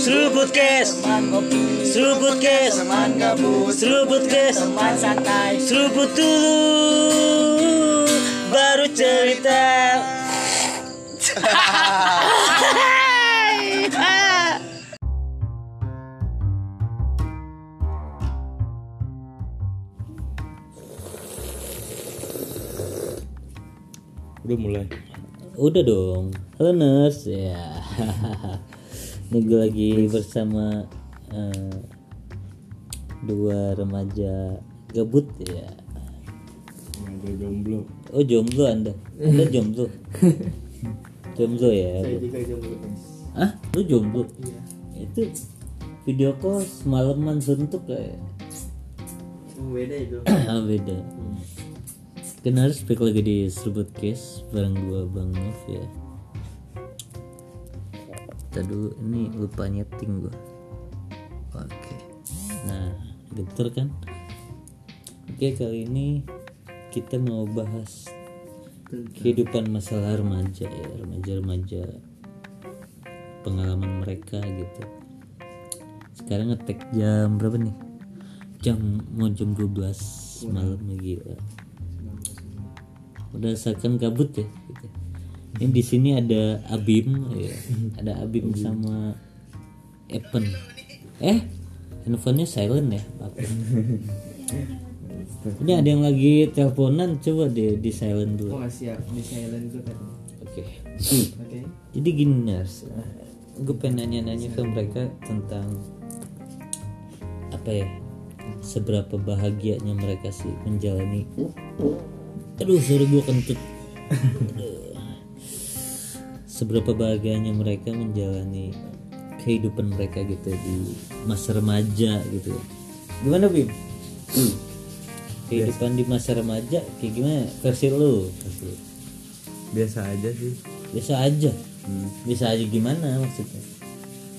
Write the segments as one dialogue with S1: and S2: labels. S1: Seruput kes,
S2: teman kopi
S1: seruput kes,
S2: teman gabut
S1: seruput kes,
S2: teman santai
S1: seruput dulu, baru cerita.
S3: Udah mulai.
S1: Udah dong, halo nurse ya. Ini gue lagi bersama eh, dua remaja gabut ya.
S3: Udah jomblo.
S1: Oh jomblo anda, anda jomblo, jomblo ya. lu.
S2: juga jomblo
S1: Hah? Lu jomblo?
S2: Iya.
S1: Itu video call semalaman suntuk kayak
S2: Cuma beda itu
S1: ah, beda. Kenal speak lagi di Serubut Case bareng gua Bang Nov ya. Tadu ini lupa nyeting gua. Oke. Nah, getar kan? Oke, kali ini kita mau bahas kehidupan masalah remaja ya, remaja-remaja pengalaman mereka gitu. Sekarang ngetek jam berapa nih? Jam mau jam 12 malam ya. gila. Berdasarkan kabut ya gitu. Ini di sini ada Abim ya. Ada Abim sama Epen. Eh, handphonenya silent ya. Apa? Ini ada yang lagi teleponan coba deh di silent dulu.
S2: nggak siap di silent gue tadi
S1: Oke.
S2: kan. oke
S1: Jadi gini Nars, gue pengen nanya-nanya ke mereka tentang apa ya? Seberapa bahagianya mereka sih menjalani? Aduh, suara gue kentut. Aduh. Seberapa bahagianya mereka menjalani kehidupan mereka gitu di masa remaja gitu. Gimana Bim? Kehidupan di masa remaja kayak gimana? Versi lu?
S3: Biasa aja sih. Hmm,
S1: Biasa aja. Bisa aja gimana maksudnya?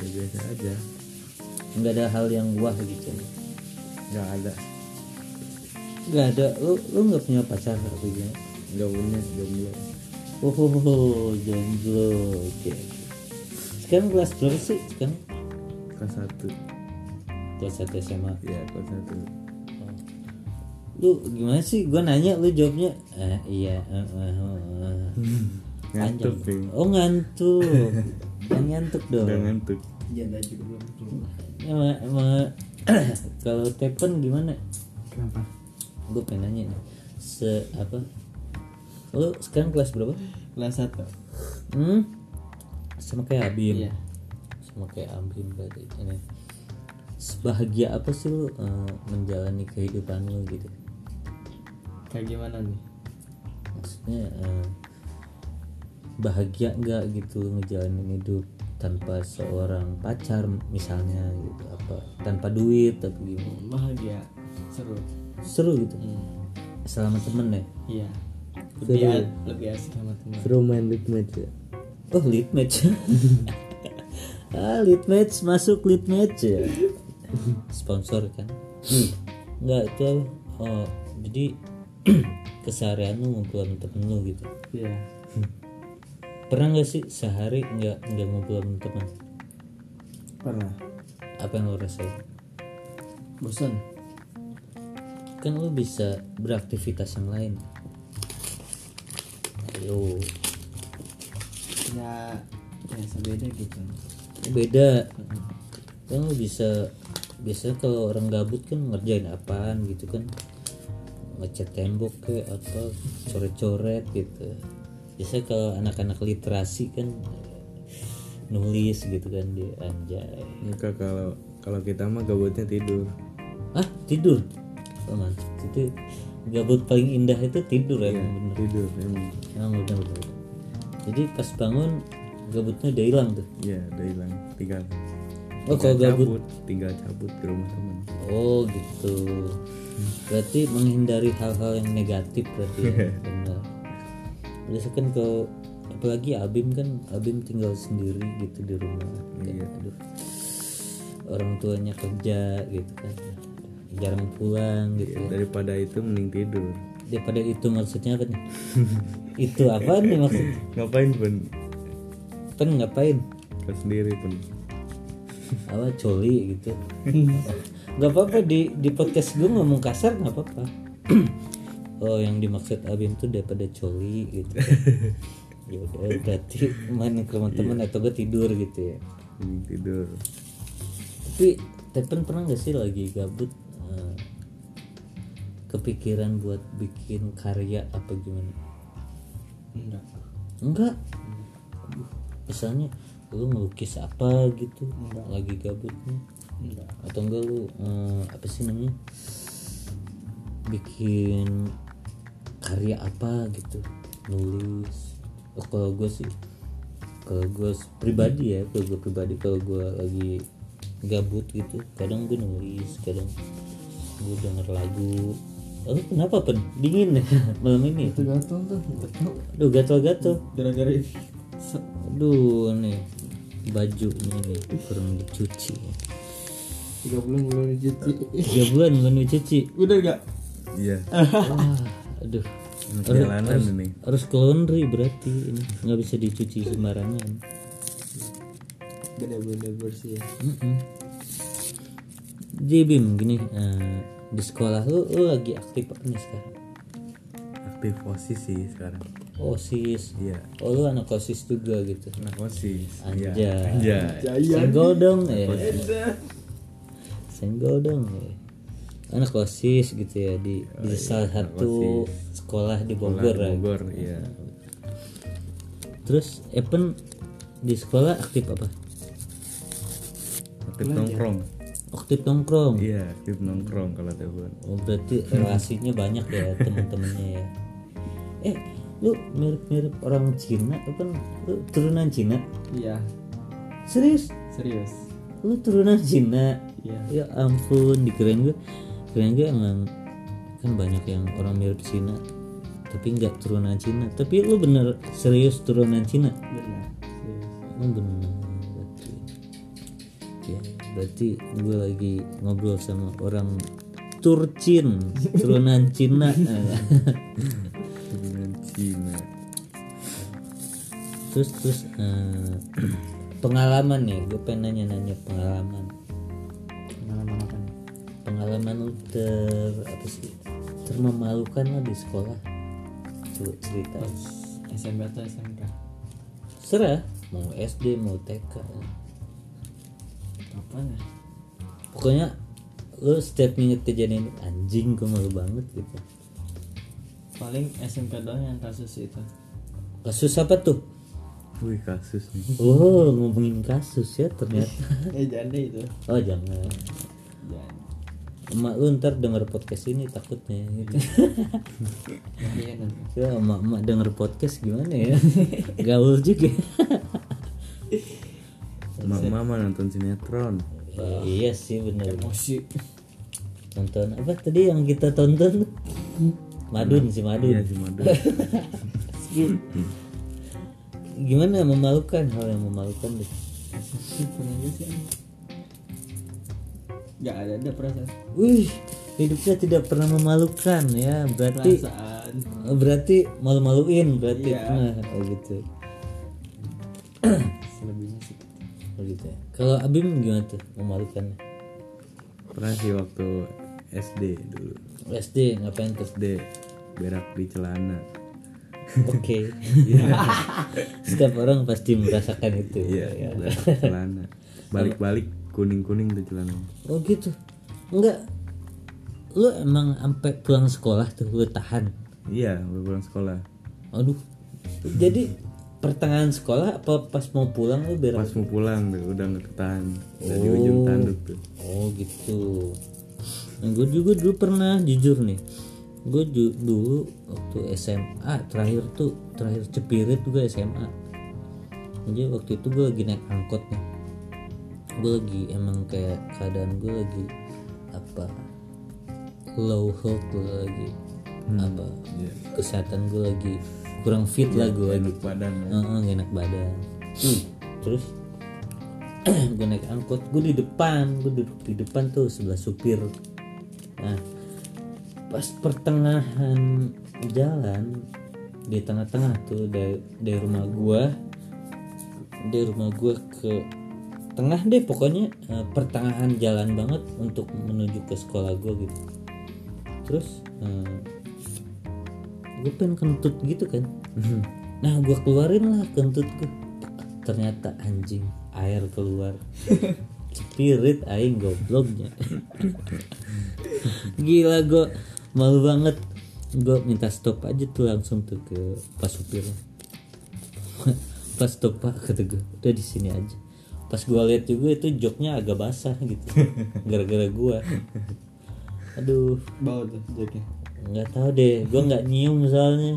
S3: Ya biasa aja.
S1: nggak ada hal yang wah gitu
S3: Gak ada.
S1: nggak ada lu lu nggak punya pacar apa gimana
S3: Gak punya jomblo.
S1: oh, oh, oh, oh, jomblo oke oke. sekarang kelas berapa sih sekarang
S3: Kelas satu.
S1: kelas satu SMA
S3: Ya kelas satu.
S1: Oh. lu gimana sih gua nanya lu jawabnya eh, iya eh, eh, eh, eh."
S3: Ngantuk,
S1: Panjang.
S3: Bing.
S1: oh ngantuk Jangan ngantuk dong
S3: Udah ngantuk.
S2: janda juga belum keluar
S1: Emang- emang- kalau tepen gimana
S3: Kenapa?
S1: gue pengen nanya nih se apa lu sekarang kelas berapa
S2: kelas satu
S1: Hmm? Sama kayak Abim.
S2: Iya.
S1: Sama kayak Abim berarti ini. Sebahagia apa sih lu eh, menjalani kehidupan lu gitu?
S2: kayak gimana nih
S1: Maksudnya eh, bahagia nggak gitu lu ngejalanin hidup tanpa seorang pacar misalnya gitu apa tanpa duit tapi gimana
S2: bahagia Hmm. seru
S1: seru gitu selama temen ya
S2: iya
S1: Seru.
S2: lebih a- lebih asik sama teman
S3: Seru main league match ya.
S1: oh lead match ah lead match masuk lead match ya sponsor kan nggak itu apa? oh jadi keseharian lu ngumpul sama temen lu gitu
S2: iya
S1: pernah nggak sih sehari nggak nggak ngumpul sama temen
S3: Pernah.
S1: apa yang lu rasain
S2: bosan
S1: kan lu bisa beraktivitas yang lain ayo
S2: ya ya sebeda gitu
S1: beda kan lu bisa biasanya kalau orang gabut kan ngerjain apaan gitu kan ngecat tembok ke atau coret-coret gitu biasanya kalau anak-anak literasi kan eh, nulis gitu kan dia anjay
S3: Enggak kalau kalau kita mah gabutnya tidur.
S1: ah tidur oh, mantap. itu gabut paling indah itu tidur
S3: Iya.
S1: ya bener
S3: Tidur emang.
S1: emang bener, bener. jadi pas bangun gabutnya udah hilang tuh
S3: Ya udah hilang. Tinggal.
S1: oh kalau gabut
S3: Tinggal cabut ke rumah teman.
S1: Oh gitu. Berarti menghindari hal-hal yang negatif berarti ya. benar. Biasa kan kalau apalagi Abim kan Abim tinggal sendiri gitu di rumah. Kayak, aduh. Orang tuanya kerja gitu kan. Jarang pulang
S3: Iya.
S1: gitu. ya.
S3: Daripada itu mending tidur.
S1: Daripada itu maksudnya apa nih? itu apa nih maksud?
S3: Ngapain pun?
S1: Kan ngapain?
S3: Kau sendiri pun.
S1: apa coli gitu nggak apa-apa di di podcast gue ngomong kasar nggak apa-apa oh yang dimaksud Abim tuh daripada coli gitu ya udah berarti main ke teman-teman atau gue tidur gitu ya
S3: Mending tidur
S1: tapi Tepen pernah nggak sih lagi gabut eh, kepikiran buat bikin karya apa gimana
S2: enggak
S1: enggak misalnya lu ngelukis apa gitu lagi gabutnya
S2: enggak
S1: atau enggak lu eh, apa sih namanya bikin karya apa gitu nulis Oh, kalau gue sih kalau gue pribadi ya kalau gue pribadi kalau gue lagi gabut gitu kadang gue nulis kadang gue denger lagu lalu kenapa pen dingin ya malam ini
S2: itu gatel tuh nggak tahu
S1: aduh gatel-gatel
S2: gara-gara ini Se-
S1: aduh nih bajunya nih kurang dicuci
S2: tiga bulan belum dicuci
S1: tiga bulan belum dicuci
S2: udah enggak
S3: iya
S1: Wah, aduh.
S3: Ini jalanan ini
S1: Harus ke laundry berarti ini nggak bisa dicuci sembarangan.
S2: bener-bener bersih ya
S1: Mm-mm. Jadi Bim gini eh, di sekolah lu, lu lagi aktif apa nih sekarang?
S3: aktif osis sih sekarang
S1: Osis.
S3: iya
S1: Oh lu anak osis juga gitu.
S3: anak osis iya
S1: Anjay.
S3: anjay
S2: jaya
S1: Senggol dong ya. Senggol dong ya. Anak osis gitu ya di, di salah satu sekolah di Bogor lah.
S3: Bogor iya
S1: Terus Epen di sekolah aktif apa?
S3: aktif nongkrong
S1: Aktif nongkrong.
S3: iya aktif nongkrong kalau telepon
S1: Oh berarti relasinya banyak ya teman-temannya ya. Eh lu mirip-mirip orang Cina apa lu turunan Cina?
S2: iya
S1: Serius?
S2: serius
S1: Lu turunan Cina? Ya
S2: iya
S1: ampun dikirain gue kirain gue emang kan banyak yang orang mirip Cina tapi nggak turunan Cina tapi lu bener serius turunan Cina
S2: benar serius
S1: Oh, bener berarti ya berarti gue lagi ngobrol sama orang Turcin turunan Cina
S3: turunan Cina
S1: terus terus eh, pengalaman nih gue pengen nanya nanya pengalaman
S2: pengalaman apa nih
S1: pengalaman lu ter apa sih termemalukan lah di sekolah coba cerita
S2: pas SMP atau SMK
S1: serah mau SD mau TK
S2: apa ya
S1: pokoknya lu setiap inget kejadian ini, anjing gue malu banget gitu
S2: paling SMK doang yang kasus itu
S1: kasus apa tuh
S3: wih kasus nih
S1: oh ngomongin kasus ya ternyata
S2: eh jangan deh itu
S1: oh jangan
S2: jangan
S1: emak lu ntar denger podcast ini takutnya gitu
S2: iya nanti
S1: Ya emak-emak denger podcast gimana ya Gaul juga
S3: Mak mama nonton sinetron
S1: Eh, Iya sih bener
S2: emosi
S1: Tonton apa tadi yang kita tonton Madun sih
S3: iya
S1: Madun
S3: si Madu
S1: Gimana memalukan hal yang memalukan deh
S2: SMP pernah gak sih Am? nggak ada ada perasaan
S1: Wih hidupnya tidak pernah memalukan ya Berarti
S2: perasaan
S1: berarti malu-maluin berarti
S2: Iya.
S1: Nah, oh gitu
S2: selebihnya sih
S1: Oh gitu ya. Kalau Abim gimana tuh memalukannya
S3: pernah sih waktu SD dulu
S1: SD ngapain tuh
S3: SD berak di celana
S1: Oke Setiap orang pasti merasakan itu Ya.
S3: iya berak di celana balik-balik kuning-kuning tuh celana
S1: Oh gitu. Enggak. Lu emang sampai pulang sekolah tuh lu tahan.
S3: iya baru pulang sekolah
S1: Aduh. Jadi pertengahan sekolah apa pas mau pulang lu berak?
S3: pas mau pulang tuh udah nggak ketahan udah di ujung tanduk tuh
S1: Oh gitu. Nah, gue juga dulu pernah jujur nih. Gue ju- dulu waktu SMA terakhir tuh terakhir cepirit juga SMA. Jadi waktu itu gue lagi naik angkot nih. Gue lagi emang kayak keadaan gue lagi apa low health gue lagi apa
S3: iya
S1: kesehatan gue lagi kurang fit lah gue
S3: enak badan ya.
S1: Heeh, nggak enak badan terus gue naik angkot gue di depan gue duduk di depan tuh sebelah supir nah pas pertengahan jalan di tengah-tengah tuh dari dari rumah gua dari rumah gua ke tengah deh pokoknya eh, pertengahan jalan banget untuk menuju ke sekolah gue gitu terus eh, gue pengen kentut gitu kan nah gue keluarin lah kentut gue ternyata anjing air keluar spirit aing gobloknya gila gue malu banget gue minta stop aja tuh langsung tuh ke pas supirnya pas stop pak kata gue udah di sini aja pas gue lihat juga itu joknya agak basah gitu gara-gara gue aduh
S2: bau tuh joknya
S1: nggak tahu deh gue nggak nyium soalnya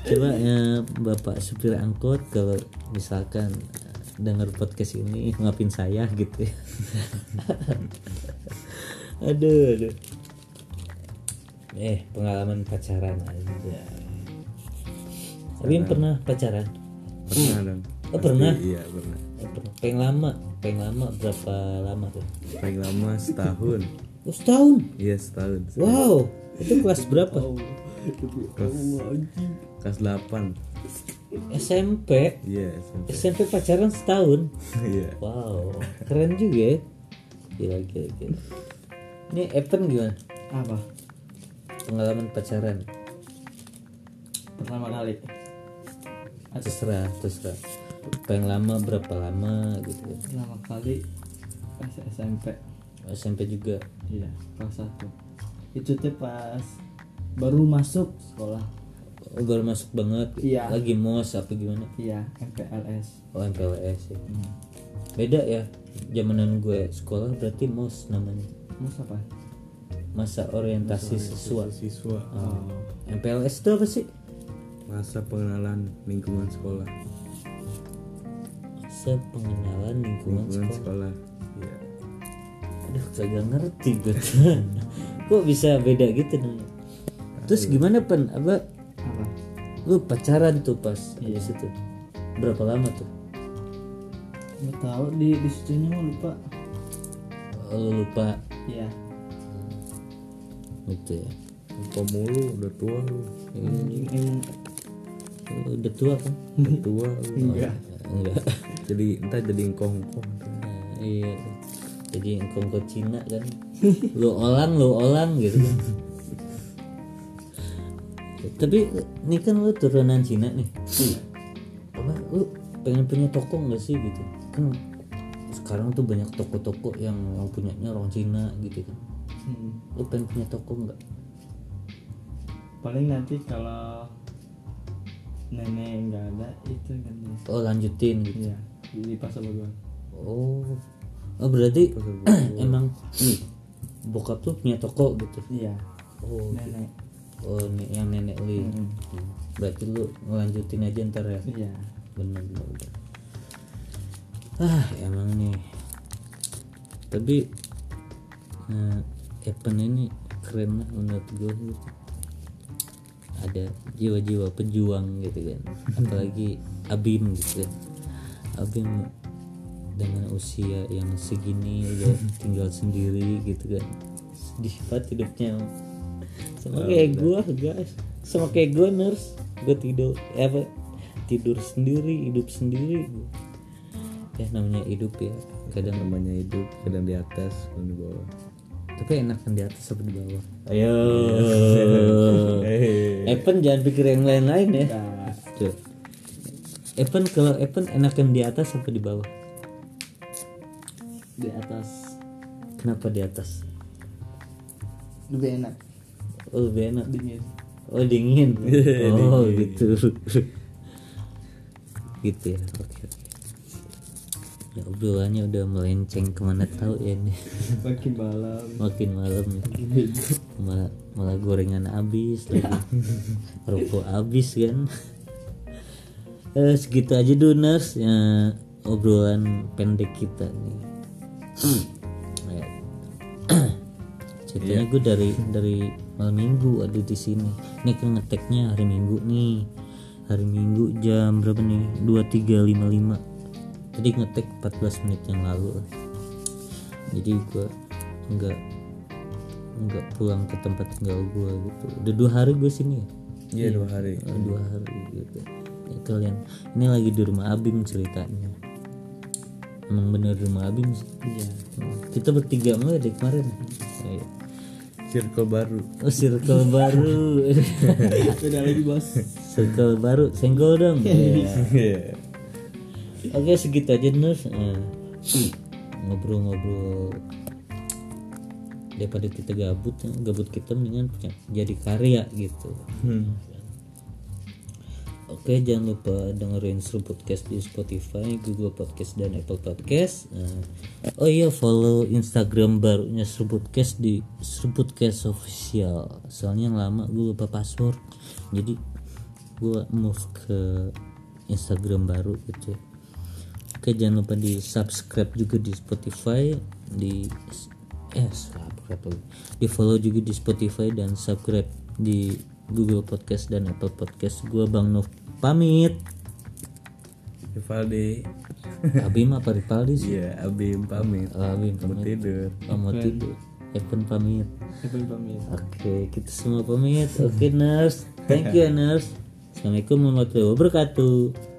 S1: coba ya, bapak supir angkot kalau misalkan eh, dengar podcast ini ngapin saya gitu ya aduh aduh eh pengalaman pacaran aja tapi yang pernah pacaran
S3: pernah dong
S1: Oh, pernah?
S3: iya pernah
S1: Eh, pernah. pengen lama pengen lama berapa lama tuh
S3: paling lama setahun
S1: oh, setahun
S3: iya setahun
S1: wow itu kelas berapa
S3: kelas 8
S1: SMP
S3: iya SMP
S1: SMP pacaran setahun
S3: iya
S1: Wow, keren juga ya. Gila, gila, gila. Ini Evan gimana?
S2: apa
S1: Pengalaman pacaran?
S2: pertama kali As-
S1: Terserah, terserah. Paling lama, berapa lama gitu kan.
S2: pertama kali pas SMP
S1: SMP juga.
S2: iya kelas satu itu tuh pas baru masuk sekolah
S1: Oh, baru masuk banget.
S2: Iya.
S1: Lagi mos apa gimana?
S2: iya MPLS
S1: Oh, MPLS ya. Beda ya. Zamanan gue sekolah berarti mos namanya.
S2: Mas apa
S1: Masa orientasi Ah. siswa.
S3: siswa
S1: MPLS itu apa sih?
S3: masa pengenalan lingkungan sekolah
S1: Masa pengenalan lingkungan
S3: lingkungan
S1: sekolah.
S3: sekolah iya
S1: Aduh kagak ngerti gue tuh. Kok bisa beda gitu namanya Terus gimana pen apa
S2: apa
S1: lu pacaran tuh pas habis itu berapa lama tuh
S2: nggak tahu di di situnya mah lupa
S1: Oh, lu lupa
S2: iya
S1: gitu ya
S3: lupa mulu udah tua lu
S2: Anjing, emang
S1: Lu udah tua kan
S3: udah tua lu
S2: enggak
S1: enggak
S3: jadi entah jadi engkong-engkong tuh.
S1: Nah, iya jadi engkongko Cina kan lu olang lu olang gitu kan tapi ini kan lu turunan Cina nih
S2: Hmm.
S1: apa lu pengen punya toko nggak sih gitu kan sekarang tuh banyak toko-toko yang, yang punyanya orang Cina gitu kan
S2: Hmm.
S1: lu pengen punya toko nggak
S2: paling nanti kalau nenek nggak ada itu kan
S1: oh lanjutin gitu
S2: iya di pasar bagus
S1: oh oh berarti emang nih bokap tuh punya toko gitu
S2: iya
S1: oh
S2: nenek
S1: Oh, ne- yang nenek lu. ya? Hmm. Berarti lu ngelanjutin aja ntar ya.
S2: iya
S1: Benar benar. benar. Ah, emang nih. Tapi eh Evan ini keren lah menurut gue gitu. Ada jiwa-jiwa pejuang gitu kan. Apalagi Abim gitu. kan. Abim dengan usia yang segini udah tinggal sendiri gitu kan. Sedih banget hidupnya. Sama kayak gue guys. Sama kayak gue nurse. Gue tidur eh, apa tidur sendiri hidup sendiri ya namanya hidup ya kadang
S3: namanya hidup kadang di atas kadang di bawah
S1: tapi enakan di atas apa di bawah ayo
S3: Eh.
S1: Evan jangan pikir yang lain-lain ya
S2: Nah,
S1: Tuh. Evan kalau Evan enakan di atas apa di bawah
S2: di atas
S1: kenapa di atas
S2: lebih enak
S1: oh lebih enak
S2: dingin
S1: oh dingin oh gitu gitu ya oke oke. ya obrolannya udah melenceng kemana tahu ya ini
S2: makin malam
S1: makin malam ya
S2: makin bego.
S1: malah, malah gorengan habis lagi rokok habis kan eh, segitu aja donors ya, obrolan pendek kita nih Ya. ceritanya gue dari dari malam minggu ada di sini ini kan ngeteknya hari minggu nih hari minggu jam berapa nih 23.55 tadi ngetek 14 menit yang lalu jadi gue nggak nggak pulang ke tempat tinggal gue gitu udah dua hari gue sini ya
S3: iya dua hari
S1: Eh, dua hari gitu ya kalian ini lagi di rumah Abim ceritanya emang bener rumah Abim sih
S2: Iya.
S1: kita bertiga mulu deh kemarin Iya.
S3: circle baru
S1: oh circle baru
S2: Beda lagi bos.
S1: circle baru senggol dong Iya.
S3: Iya.
S1: Oke segitu aja Nus Eh, Ngobrol-ngobrol Daripada kita gabut eh, Gabut kita mendingan punya, jadi karya gitu
S3: Hmm.
S1: Oke jangan lupa dengerin seru podcast di Spotify, Google Podcast dan Apple Podcast Eh, Oh iya follow Instagram barunya seru podcast di seru podcast official Soalnya yang lama gue lupa password Jadi gue move ke Instagram baru gitu Oke jangan lupa di subscribe juga di Spotify di eh subscribe lagi. di follow juga di Spotify dan subscribe di Google Podcast dan Apple Podcast gua Bang Nov pamit
S3: Rivaldi.
S1: Abim apa Ripaldi sih
S3: Iya, Abim pamit.
S1: Oh, Abim
S3: Mau
S1: pamit
S3: tidur.
S1: Oh, mau tidur Evan pamit
S2: Evil pamit.
S1: Oke kita semua pamit Oke nurse thank you nurse Assalamualaikum warahmatullahi wabarakatuh